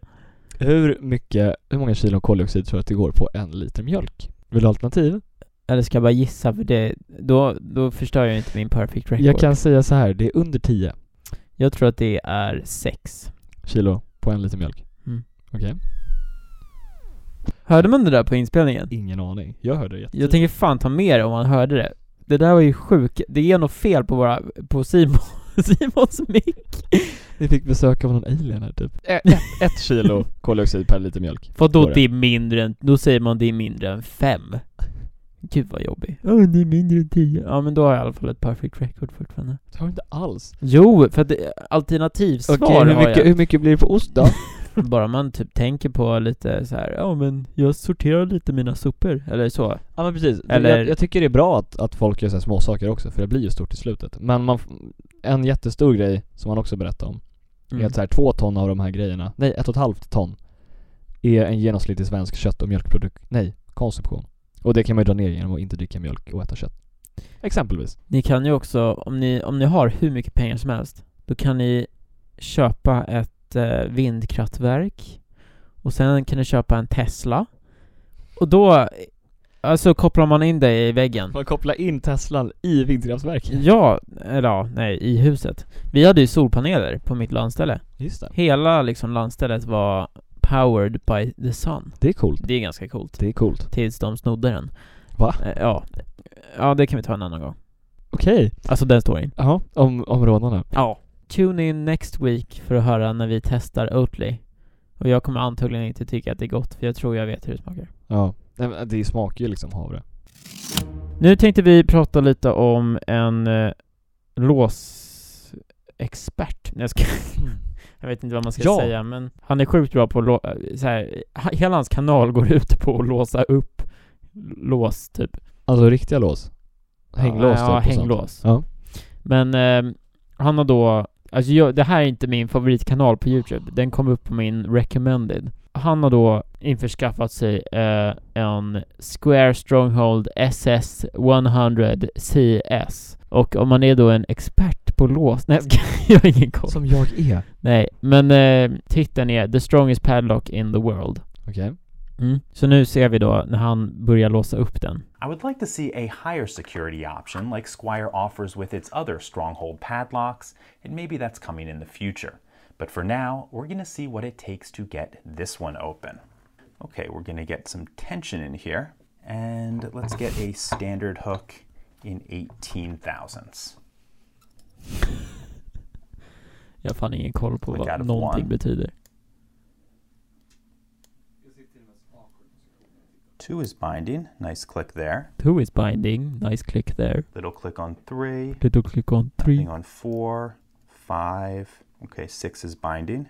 Hur mycket, hur många kilo koldioxid tror du att det går på en liter mjölk? Vill du ha alternativ? Eller ska jag bara gissa för det, då, då förstör jag inte min perfect record. Jag kan säga så här, det är under 10 jag tror att det är sex. kilo på en liter mjölk. Mm. Okej. Hörde man det där på inspelningen? Ingen aning. Jag hörde det jätte- Jag tänker fan ta med det om man hörde det. Det där var ju sjukt. Det är något fel på våra, på Simon, Simons mick. Ni fick besök av någon alien här typ. Ett kilo koldioxid per liter mjölk. Vadå Var det? det är mindre än, då säger man det är mindre än fem. Gud vad jobbig. Ja, det är mindre än tio. Ja men då har jag i alla fall ett perfect record fortfarande. Det har inte alls. Jo, för att det, alternativsvar Okej, hur, har mycket- jag. hur mycket blir det på ost då? Bara man typ tänker på lite så här, ja men jag sorterar lite mina sopor, eller så. ja men precis. Eller- Jag, jag tycker det är bra att, att folk gör så här små saker också, för det blir ju stort i slutet. Men man, f- en jättestor grej som man också berättade om, är Mm. att så här, två ton av de här grejerna, nej ett och ett halvt ton, är en genomsnittlig svensk kött och mjölkprodukt, nej, konsumtion. Och det kan man ju dra ner genom att inte dricka mjölk och äta kött. Exempelvis. Ni kan ju också, om ni, om ni har hur mycket pengar som helst, då kan ni köpa ett eh, vindkraftverk och sen kan ni köpa en Tesla. Och då, alltså kopplar man in det i väggen. Man kopplar in Teslan i vindkraftverket. Ja, eller ja, nej, i huset. Vi hade ju solpaneler på mitt landställe. Just det. Hela liksom landstället var powered by the sun. Det är coolt. Det är ganska coolt. Det är coolt. Tills de snodde den. Va? Eh, Ja, ja det kan vi ta en annan gång. Okej. Alltså den storyn. Jaha, om, om rånarna. Ja. Tune in next week för att höra när vi testar Oatly. Och jag kommer antagligen inte tycka att det är gott, för jag tror jag vet hur det smakar. Ja. Nej, men Det smakar ju liksom havre. Nu tänkte vi prata lite om en eh, låsexpert. Nej, Jag, ska, jag vet inte vad man ska Ja. säga, men han är sjukt bra på att lå- eh, så här, ha- Hela hans kanal går ut på att låsa upp lås, typ. Alltså riktiga lås? Hänglås Ja, ja typ och sånt. hänglås. Ja. Men eh, han har då, alltså jag, det här är inte min favoritkanal på Youtube, den kom upp på min recommended. Han har då införskaffat sig eh, en Square Stronghold SS 100 CS. Och om man är då en expert på lås, nej jag har ingen koll. Som jag är. Nej, men eh, titeln är 'The strongest padlock in the world' Okej. mm. Så nu ser vi då när han börjar låsa upp den. I would like to see a higher security option like Squire offers with its other stronghold padlocks, and maybe that's coming in the future. But for now, we're going to see what it takes to get this one open. Okay, we're going to get some tension in here, and let's get a standard hook in 18 thousandths. Jag har fan ingen koll på Like out vad of någonting one. betyder. Two is binding, nice click there. Two is binding, nice click there. Little click on three, Little click on three. Hang on four, five. Okay, six is binding.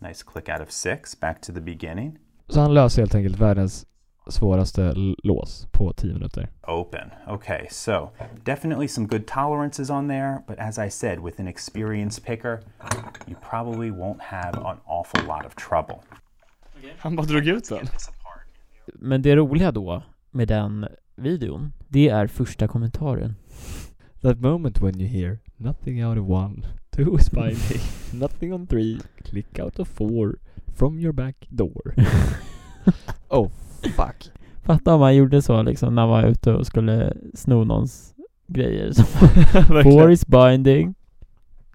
Nice click out of six, back to the beginning. Så han löser helt enkelt världens svåraste l- lås på 10 minuter. Open. Okay, so definitely some good tolerances on there, but as I said, with an experienced picker, you probably won't have an awful lot of trouble. Han bara drog ut den. Men det roliga då med den videon, det är första kommentaren. That moment when you hear nothing out of one, two is binding, nothing on three, click out of four, from your back door. oh fuck. Fatta om man gjorde så liksom när man var ute och skulle sno någons grejer. Så Four is binding.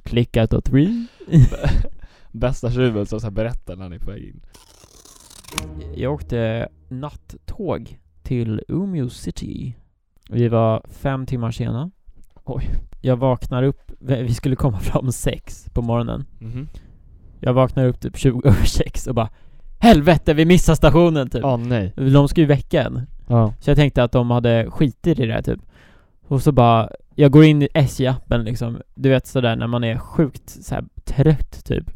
Click out of three. Bästa tjuven som så här berättar när han är på väg in. Jag åkte nattåg till Umeå city. Vi var fem timmar sena. Oj. Jag vaknar upp, vi skulle komma fram sex på morgonen. Mhm. Jag vaknar upp typ 20 över sex och bara Helvete, vi missar stationen typ! Åh nej. De ska ju väcka en. Ja. Så jag tänkte att de hade skitit i det här typ. Och så bara, jag går in i SJ-appen liksom. Du vet sådär när man är sjukt så här, trött typ.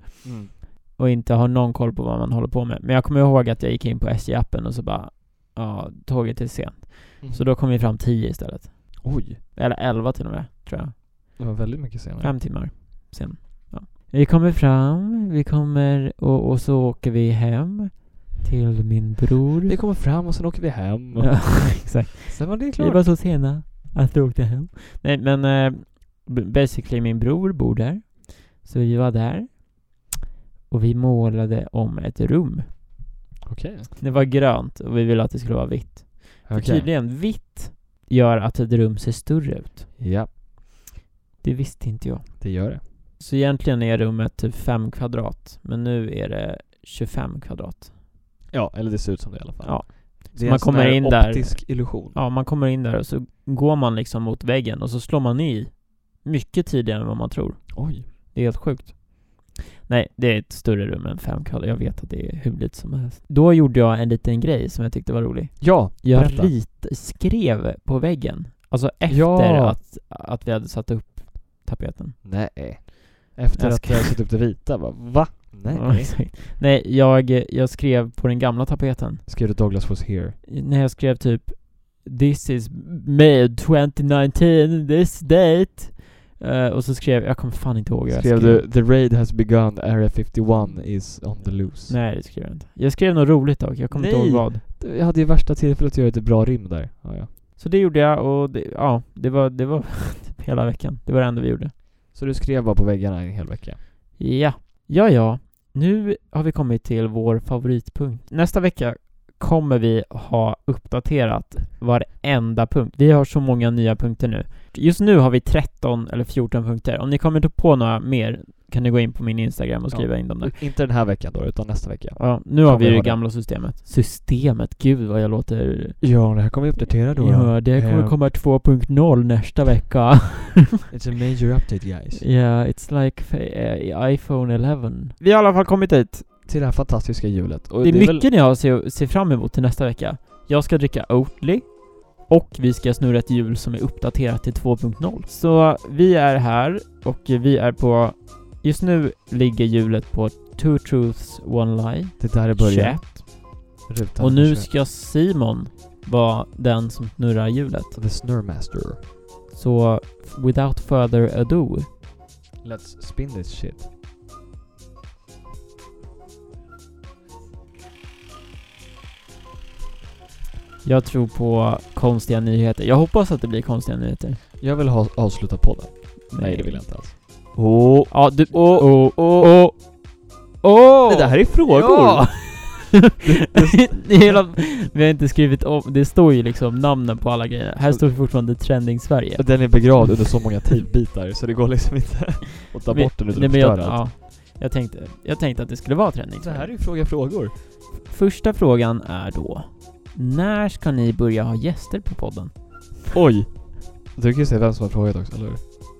Och inte har någon koll på vad man håller på med. Men jag kommer ihåg att jag gick in på SJ-appen och så bara, ja, tåget är sent. Mhm. Så då kom vi fram 10 istället. Oj, Eller 11 till och med, tror jag. det var väldigt mycket senare. Fem timmar sen. Ja. Vi kommer fram, vi kommer och, och så åker vi hem till min bror. Vi kommer fram och sen åker vi hem. Ja, exakt. Sen var det Vi klart. var så sena att vi åkte hem. Nej men eh, b- basically min bror bor där. Så vi var där. Och vi målade om ett rum. Okej. Det var grönt och vi ville att det skulle vara vitt. För Okej. tydligen vitt gör att ett rum ser större ut. Ja, Det visste inte jag. det gör det. Så egentligen är rummet typ 5 kvadrat, men nu är det 25 kvadrat. Ja, eller det ser ut som det i alla fall. Ja. Det är man en sån kommer här in där- optisk illusion. Ja, man kommer in där och så går man liksom mot väggen och så slår man i mycket tidigare än vad man tror. Oj. Det är helt sjukt. Nej, det är ett större rum än 5 kvadrat. Jag vet att det är hur lite som helst. Då gjorde jag en liten grej som jag tyckte var rolig. Ja, Jag berätta. rit- skrev på väggen. Alltså efter Ja. att, att vi hade satt upp tapeten. Nej. Efter Jag att ska- jag sett upp det vita, bara, va? Nej. Ja, exakt. Nej, jag, jag skrev på den gamla tapeten. Skrev du Douglas was here? när jag skrev typ This is May 2019, this date Eh, Och så skrev, jag kommer fan inte ihåg vad jag Skrev du the raid has begun, area 51 is on the loose? Nej det skrev jag inte. Jag skrev något roligt dock, jag kommer inte Nej. ihåg vad. Du, Jag hade ju värsta tillfället att göra ett bra rim där. Ja, ja. Så det gjorde jag och det, ja, det var, det var typ hela veckan. Det var det enda vi gjorde. Så du skrev bara på väggarna en hel vecka? Ja, ja ja. Nu har vi kommit till vår favoritpunkt. Nästa vecka kommer vi ha uppdaterat varenda punkt. Vi har så många nya punkter nu. Just nu har vi 13 eller 14 punkter. Om ni kommer på några mer kan ni gå in på min Instagram och Ja. skriva in dem där. Inte den här veckan då, utan nästa vecka. Ja, nu Kan har vi vi ju det ha det? gamla systemet. Systemet, gud vad jag låter... Ja, det här kommer vi uppdatera Ja, det kommer Eh, komma 2.0 nästa vecka. It's a major update guys. yeah, it's like fa- eh, iPhone 11. Vi har i alla fall kommit dit. Till det här fantastiska hjulet. Och Det är väl- mycket ni har att se, se fram emot till nästa vecka. Jag ska dricka Oatly och vi ska snurra ett hjul som är uppdaterat till 2.0. Så vi är här och vi är på... Just nu ligger hjulet på Two Truths One Lie, det där är början. 21. Rutan Och nu 21. ska Simon vara den som snurrar hjulet. The Snurmaster. Så without further ado. Let's spin this shit. Jag tror på konstiga nyheter. Jag hoppas att det blir konstiga nyheter. Jag vill ha avsluta podden. Nej, det vill jag inte alls. Åh, ja du... Åh, åh, åh, åh! Nej, det här är frågor! Ja. Det är Hela, vi har inte skrivit om, det står ju liksom namnen på alla grejer. Här står det fortfarande trending Sverige. Och Den är begravd under så många tejpbitar så det går liksom inte att ta Vi- bort den utan Nej, att men jag, förstöra allt. ja, jag, tänkte, jag tänkte att det skulle vara trending Det här är Sverige. ju fråga frågor. Första frågan är då, när ska ni börja ha gäster på podden? Oj! Du kan ju se vem som har frågat också, eller hur?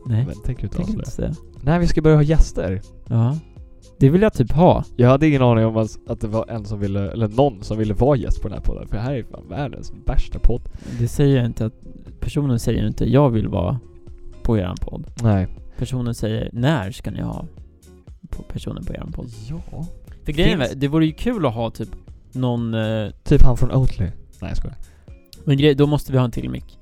Nej, Men tänker du inte tänker avslöja? inte säga. När vi ska börja ha gäster? Ja. Det vill jag typ ha. Jag hade ingen aning om ens att det var en som ville, eller någon som ville vara gäst på den här podden. För det här är fan världens värsta podd. Det säger jag inte att, personen säger inte jag vill vara på eran podd. Nej. Personen säger när ska ni ha på personen på eran podd? Ja. För grejen Finns- är, det vore ju kul att ha typ någon... eh, Typ han från Oatly. Nej jag skojar. Men grej, då måste vi ha en till mick.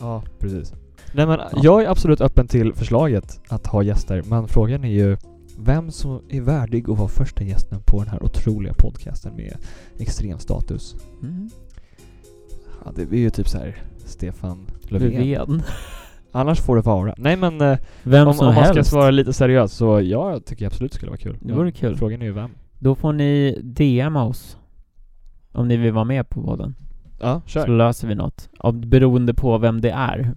Ja, precis. Nej men jag är absolut öppen till förslaget att ha gäster. Men frågan är ju vem som är värdig att vara första gästen på den här otroliga podcasten med extrem status. Mm. Ja, det är ju typ så här Stefan Löfven. Löfven. Annars får det vara. Nej men eh, Vem om, som om man ska helst. svara lite seriöst så jag tycker absolut det skulle vara kul. Det vore Men kul. Frågan är ju vem. Då får ni DMa oss. Om ni vill vara med på podden. Ja, Så löser vi något. Om, beroende på vem det är.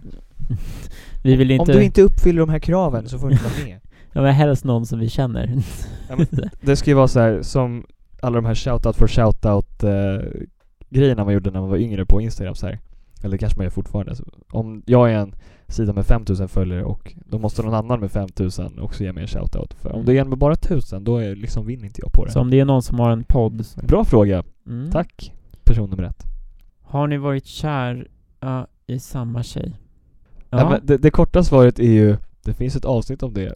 vi vill Om inte... du inte uppfyller de här kraven så får du inte vara med. Ja, men helst någon som vi känner. Ja, men det ska ju vara så här som alla de här shoutout for shoutout eh, grejerna man gjorde när man var yngre på Instagram så här. Eller det kanske man gör fortfarande. Så om jag är en sida med 5000 följare och då måste någon annan med 5000 också ge mig en shoutout. För om det är en med bara 1000 då är, liksom vinner inte jag på det. Så om det är någon Mm. som har en podd. så- Bra fråga. Mm. Tack person nummer ett. Har ni varit kär ja, i samma tjej? Ja. Nej, men det, det korta svaret är ju, det finns ett avsnitt om det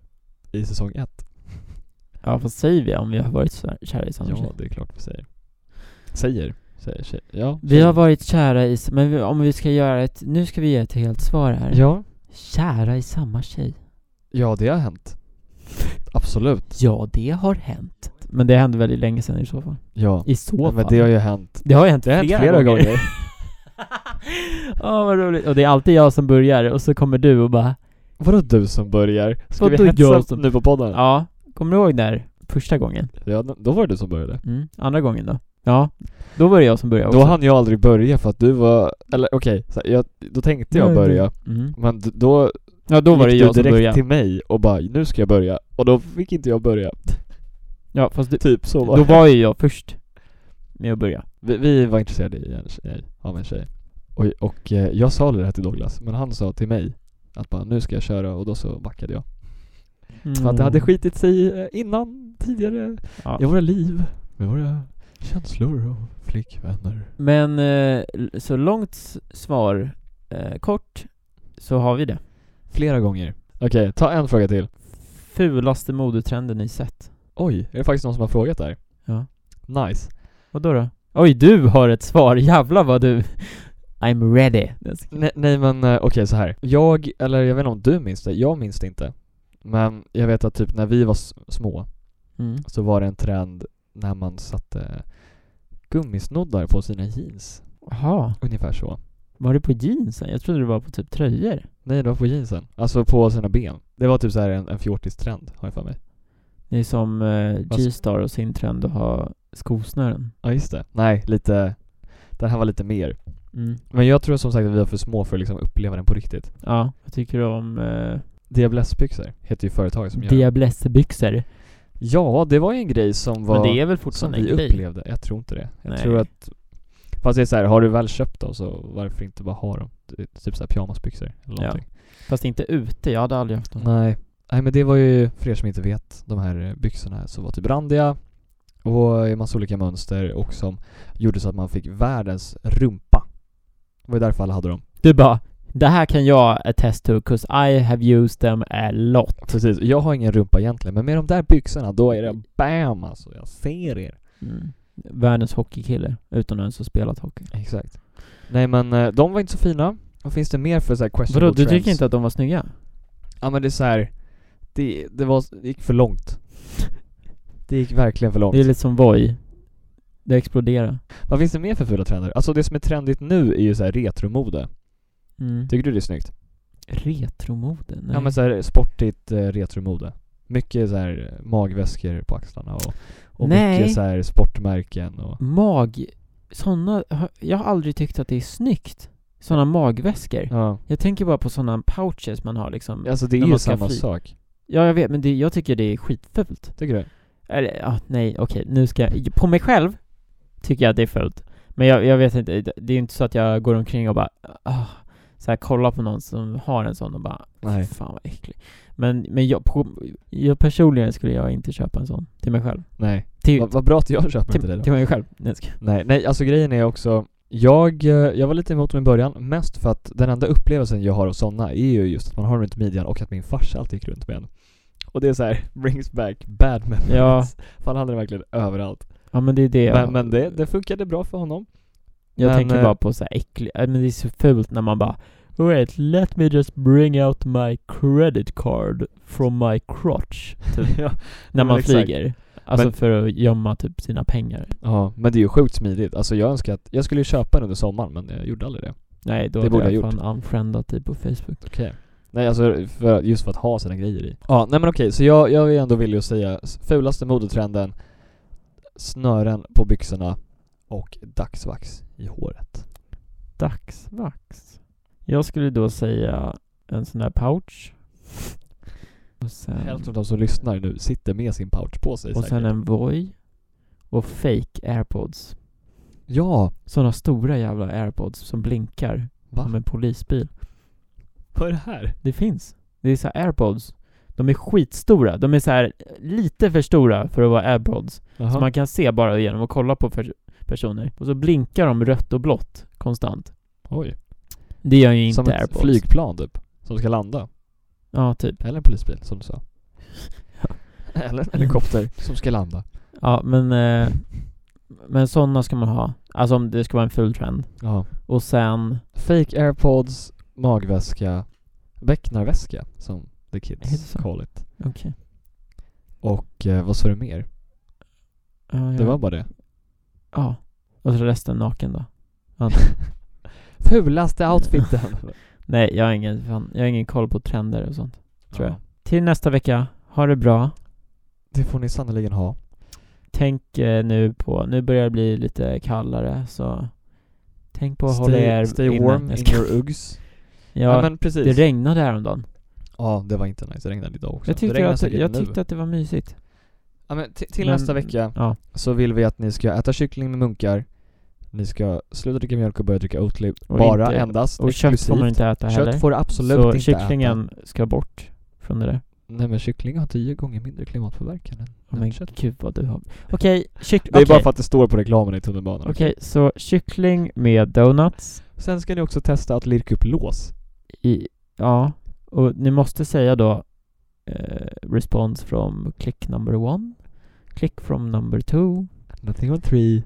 i säsong ett. ja, vad säger vi om vi har varit kär- kär i samma Ja, tjej? det är klart vi säger. Säger. Säger tjej. Ja, Vi tjejer. har varit kära i, s- men vi, om vi ska göra ett, nu ska vi ge ett helt svar här. Ja, Kära i samma tjej. ja det har hänt. Absolut. Ja, det har hänt. Men det hände väldigt länge sedan i så fall. Ja. I så fall. Men det har ju hänt. Det har ju hänt Det har hänt flera gånger. Ja, vad roligt. Och det är alltid jag som börjar och så kommer du och bara Vadå du som börjar? Ska Vadå vi hetsa jag som- nu på podden? Ja. Ja, kommer du ihåg när? Första gången? då var det du som började. Mm. Andra gången då? Ja, då var det jag som började Då också. hann jag aldrig börja för att du var, eller okej, så här, jag- då tänkte jag Nej, börja. Mm. Men d- då Ja, då var det gick jag du som direkt började. till mig och bara 'Nu ska jag börja' och då fick inte jag börja. Ja, fast du, Typ så var då var ju jag först med att börja. Vi, vi var intresserade i en tjej, av en tjej. Och, och eh, jag sa aldrig det här till Douglas, men han sa till mig att bara 'Nu ska jag köra' och då så backade jag. För Mm. att det hade skitit sig eh, innan, tidigare, Ja. i våra liv, med våra känslor och flickvänner. Men eh, l- så långt s- svar, eh, kort, så har vi det. Flera gånger. Okej, ta en fråga till. Fulaste modetrenden ni sett? Oj, är det faktiskt någon som har frågat där? Ja. Nice. Vad då då? Oj, du har ett svar. Jävlar vad du... I'm ready. Nej, nej men eh, okej så här. Jag, eller jag vet inte om du minns det, jag minns det inte. Men jag vet att typ när vi var s- små Mm. så var det en trend när man satte gummisnoddar på sina jeans. Jaha, Ungefär så. var det på jeansen? Jag trodde det var på typ tröjor. Nej, det var på jeansen. Alltså på sina ben. Det var typ så här en, en fjortistrend, har jag för mig. Det är som eh, Vad s- G-star och sin trend att ha skosnören. Ja, just det. Nej, lite... Den här var lite mer. Mm. Men jag tror som sagt att vi var för små för att liksom uppleva den på riktigt. Ja, vad tycker du om eh, Diablessbyxor heter ju företaget som gör det. diablessebyxor? Ja, det var ju en grej som var... Men det är väl Som fortfarande vi en grej? upplevde, jag tror inte det. Jag Nej. tror att... Fast det är så här, har du väl köpt dem så varför inte bara ha dem? Det är Typ såhär pyjamasbyxor eller Ja. Mm. någonting. Fast inte ute, jag hade aldrig haft dem. Nej. Nej men det var ju, för er som inte vet, de här eh, byxorna som var typ randiga och i massa olika mönster och som gjorde så att man fick världens rumpa. Det var ju därför alla hade dem. Du bara, det här kan jag attest to, 'cause I have used them a lot. Precis, jag har ingen rumpa egentligen men med de där byxorna då är det BAM alltså, jag ser er. Världens hockeykille, utan ens ha spelat hockey. Exakt. Nej men eh, de var inte så fina. Vad finns det mer för såhär questionable Vadå, du trends? tycker inte att de var snygga? Ja men det är så här. Det, det, var, det gick för långt. Det gick verkligen för långt. Det är lite som Voi. Det exploderar. Vad finns det mer för fula trender? Alltså det som är trendigt nu är ju så här retromode. Mm. Tycker du det är snyggt? Retromode? Nej. Ja men så här sportigt eh, retromode. Mycket så här eh, magväskor på axlarna och, och Nej. Mm. mycket så här sportmärken och... Mag... Såna... Jag har aldrig tyckt att det är snyggt. Såna magväskor. Ja. Jag tänker bara på såna pouches man har liksom. Alltså det När är ju man ska samma fly- sak. Ja, jag vet, men det, jag tycker det är skitfult. Tycker du? Eller, ja, nej, okej, nu ska jag... På mig själv tycker jag att det är fult. Men jag, jag vet inte, det- det är inte så att jag går omkring och bara... Ah, så här, kollar på någon som har en sån och bara... Nej. Fan vad äcklig. Men, men jag, på, jag personligen skulle jag inte köpa en sån till mig själv. Nej. Typ, Till, Vad vad bra att jag köper till, inte det då. till mig själv. Nej, jag skojar. Nej, nej, alltså grejen är också jag, eh, jag var lite emot dem i början, mest för att den enda upplevelsen jag har av sådana är ju just att man har dem runt midjan och att min farsa alltid gick runt med en. Och det är så här, brings back bad memories. Ja. För han hade den verkligen överallt. Ja men det är det Men, men det, det funkade bra för honom. Jag men, tänker eh, bara på så här äcklig, äh, men det är så fult när man bara Alright, let me just bring out my credit card from my crotch. ja. När men man exakt. flyger. Alltså Men- för att gömma typ sina pengar. ja, men det är ju sjukt smidigt. Alltså jag önskar att, jag skulle ju köpa den under sommaren men jag gjorde aldrig det. Nej, då Det borde hade jag jag fan unfriendat dig typ på Facebook. Okej. Nej alltså, för, just för att ha sina grejer i. Ja, nej men okej, så jag, jag är ändå villig att säga s- fulaste modetrenden, snören på byxorna och dagsvax i håret. Dagsvax. Jag skulle då säga en sån där pouch. Och sen, Hälften av de som lyssnar nu sitter med sin pouch på sig och säkert. sen en Voi. Och fake airpods. Ja! Såna stora jävla airpods som blinkar. Va? Som en polisbil. Vad är det här? Det finns. Det är så här airpods. De är skitstora. De är så här lite för stora för att vara airpods. Så man kan se bara genom att kolla på pers- personer. Och så blinkar de rött och blått konstant. Oj. Det gör ju inte Som ett airpods. flygplan typ, som ska landa. Ja, typ. Eller en polisbil, som du sa. Eller en helikopter som ska landa. Ja, men eh, Men sådana ska man ha. Alltså om det ska vara en ful trend. Ja. Och sen, Fake airpods, magväska, becknarväska som the Är det kids så? call it. Okej. Och eh, vad sa du mer? ja, Det ja. var bara det. Ja. Och så resten naken då. Fulaste outfiten! Nej, jag har ingen, fan, jag har ingen koll på trender och sånt. Tror Ja. jag. Till nästa vecka, ha det bra. Det får ni sannerligen ha. Tänk eh, nu på, nu börjar det bli lite kallare så tänk på att hålla er stay inne. warm Jag in ska- your uggs. Ja, ja, men precis. det regnade häromdagen. ja, det var inte nice. Det regnade idag också. Jag det tyckte, regnar att, säkert jag nu. tyckte att det var mysigt. Ja, men ti- till Men- nästa vecka Ja. så vill vi att ni ska äta kyckling med munkar. Ni ska sluta dricka mjölk och börja dricka Oatly. Och Bara, inte- endast, Och kött får man inte äta heller. Kött får du absolut så inte äta. kycklingen ska bort från det där. Nej men kyckling har tio gånger mindre klimatpåverkan än Oh, än men kött. gud vad du har... Okej, kyck... Det är bara okej. för att det står på reklamen i tunnelbanan. också. Okej, så kyckling med donuts. Sen ska ni också testa att lirka upp lås. I, ja, och ni måste säga då eh, response from click number one, click from number two. Nothing on three.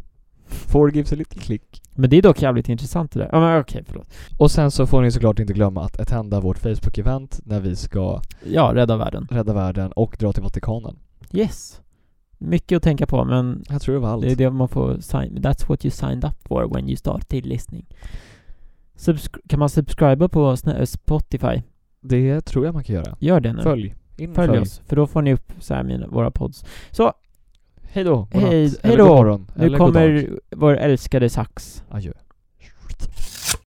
Four gives a little click. Men det är dock jävligt intressant det där. Ja, men okej, förlåt. Och sen så får ni såklart inte glömma att attenda vårt Facebook-event när vi ska Ja, rädda världen. rädda världen och dra till Vatikanen. Yes. Mycket att tänka på, men Jag tror det var allt. det är det man får sign... That's what you signed up for when you started listening. Subscri- kan man subscriba på Sna- eh, Spotify? Det tror jag man kan göra. Gör det nu. Följ. In Följ oss, för då får ni upp så här mina, våra pods. Så, Hej då. Hej- Hej hej då. då. morgon. nu eller god dag. kommer vår älskade sax. Adjö.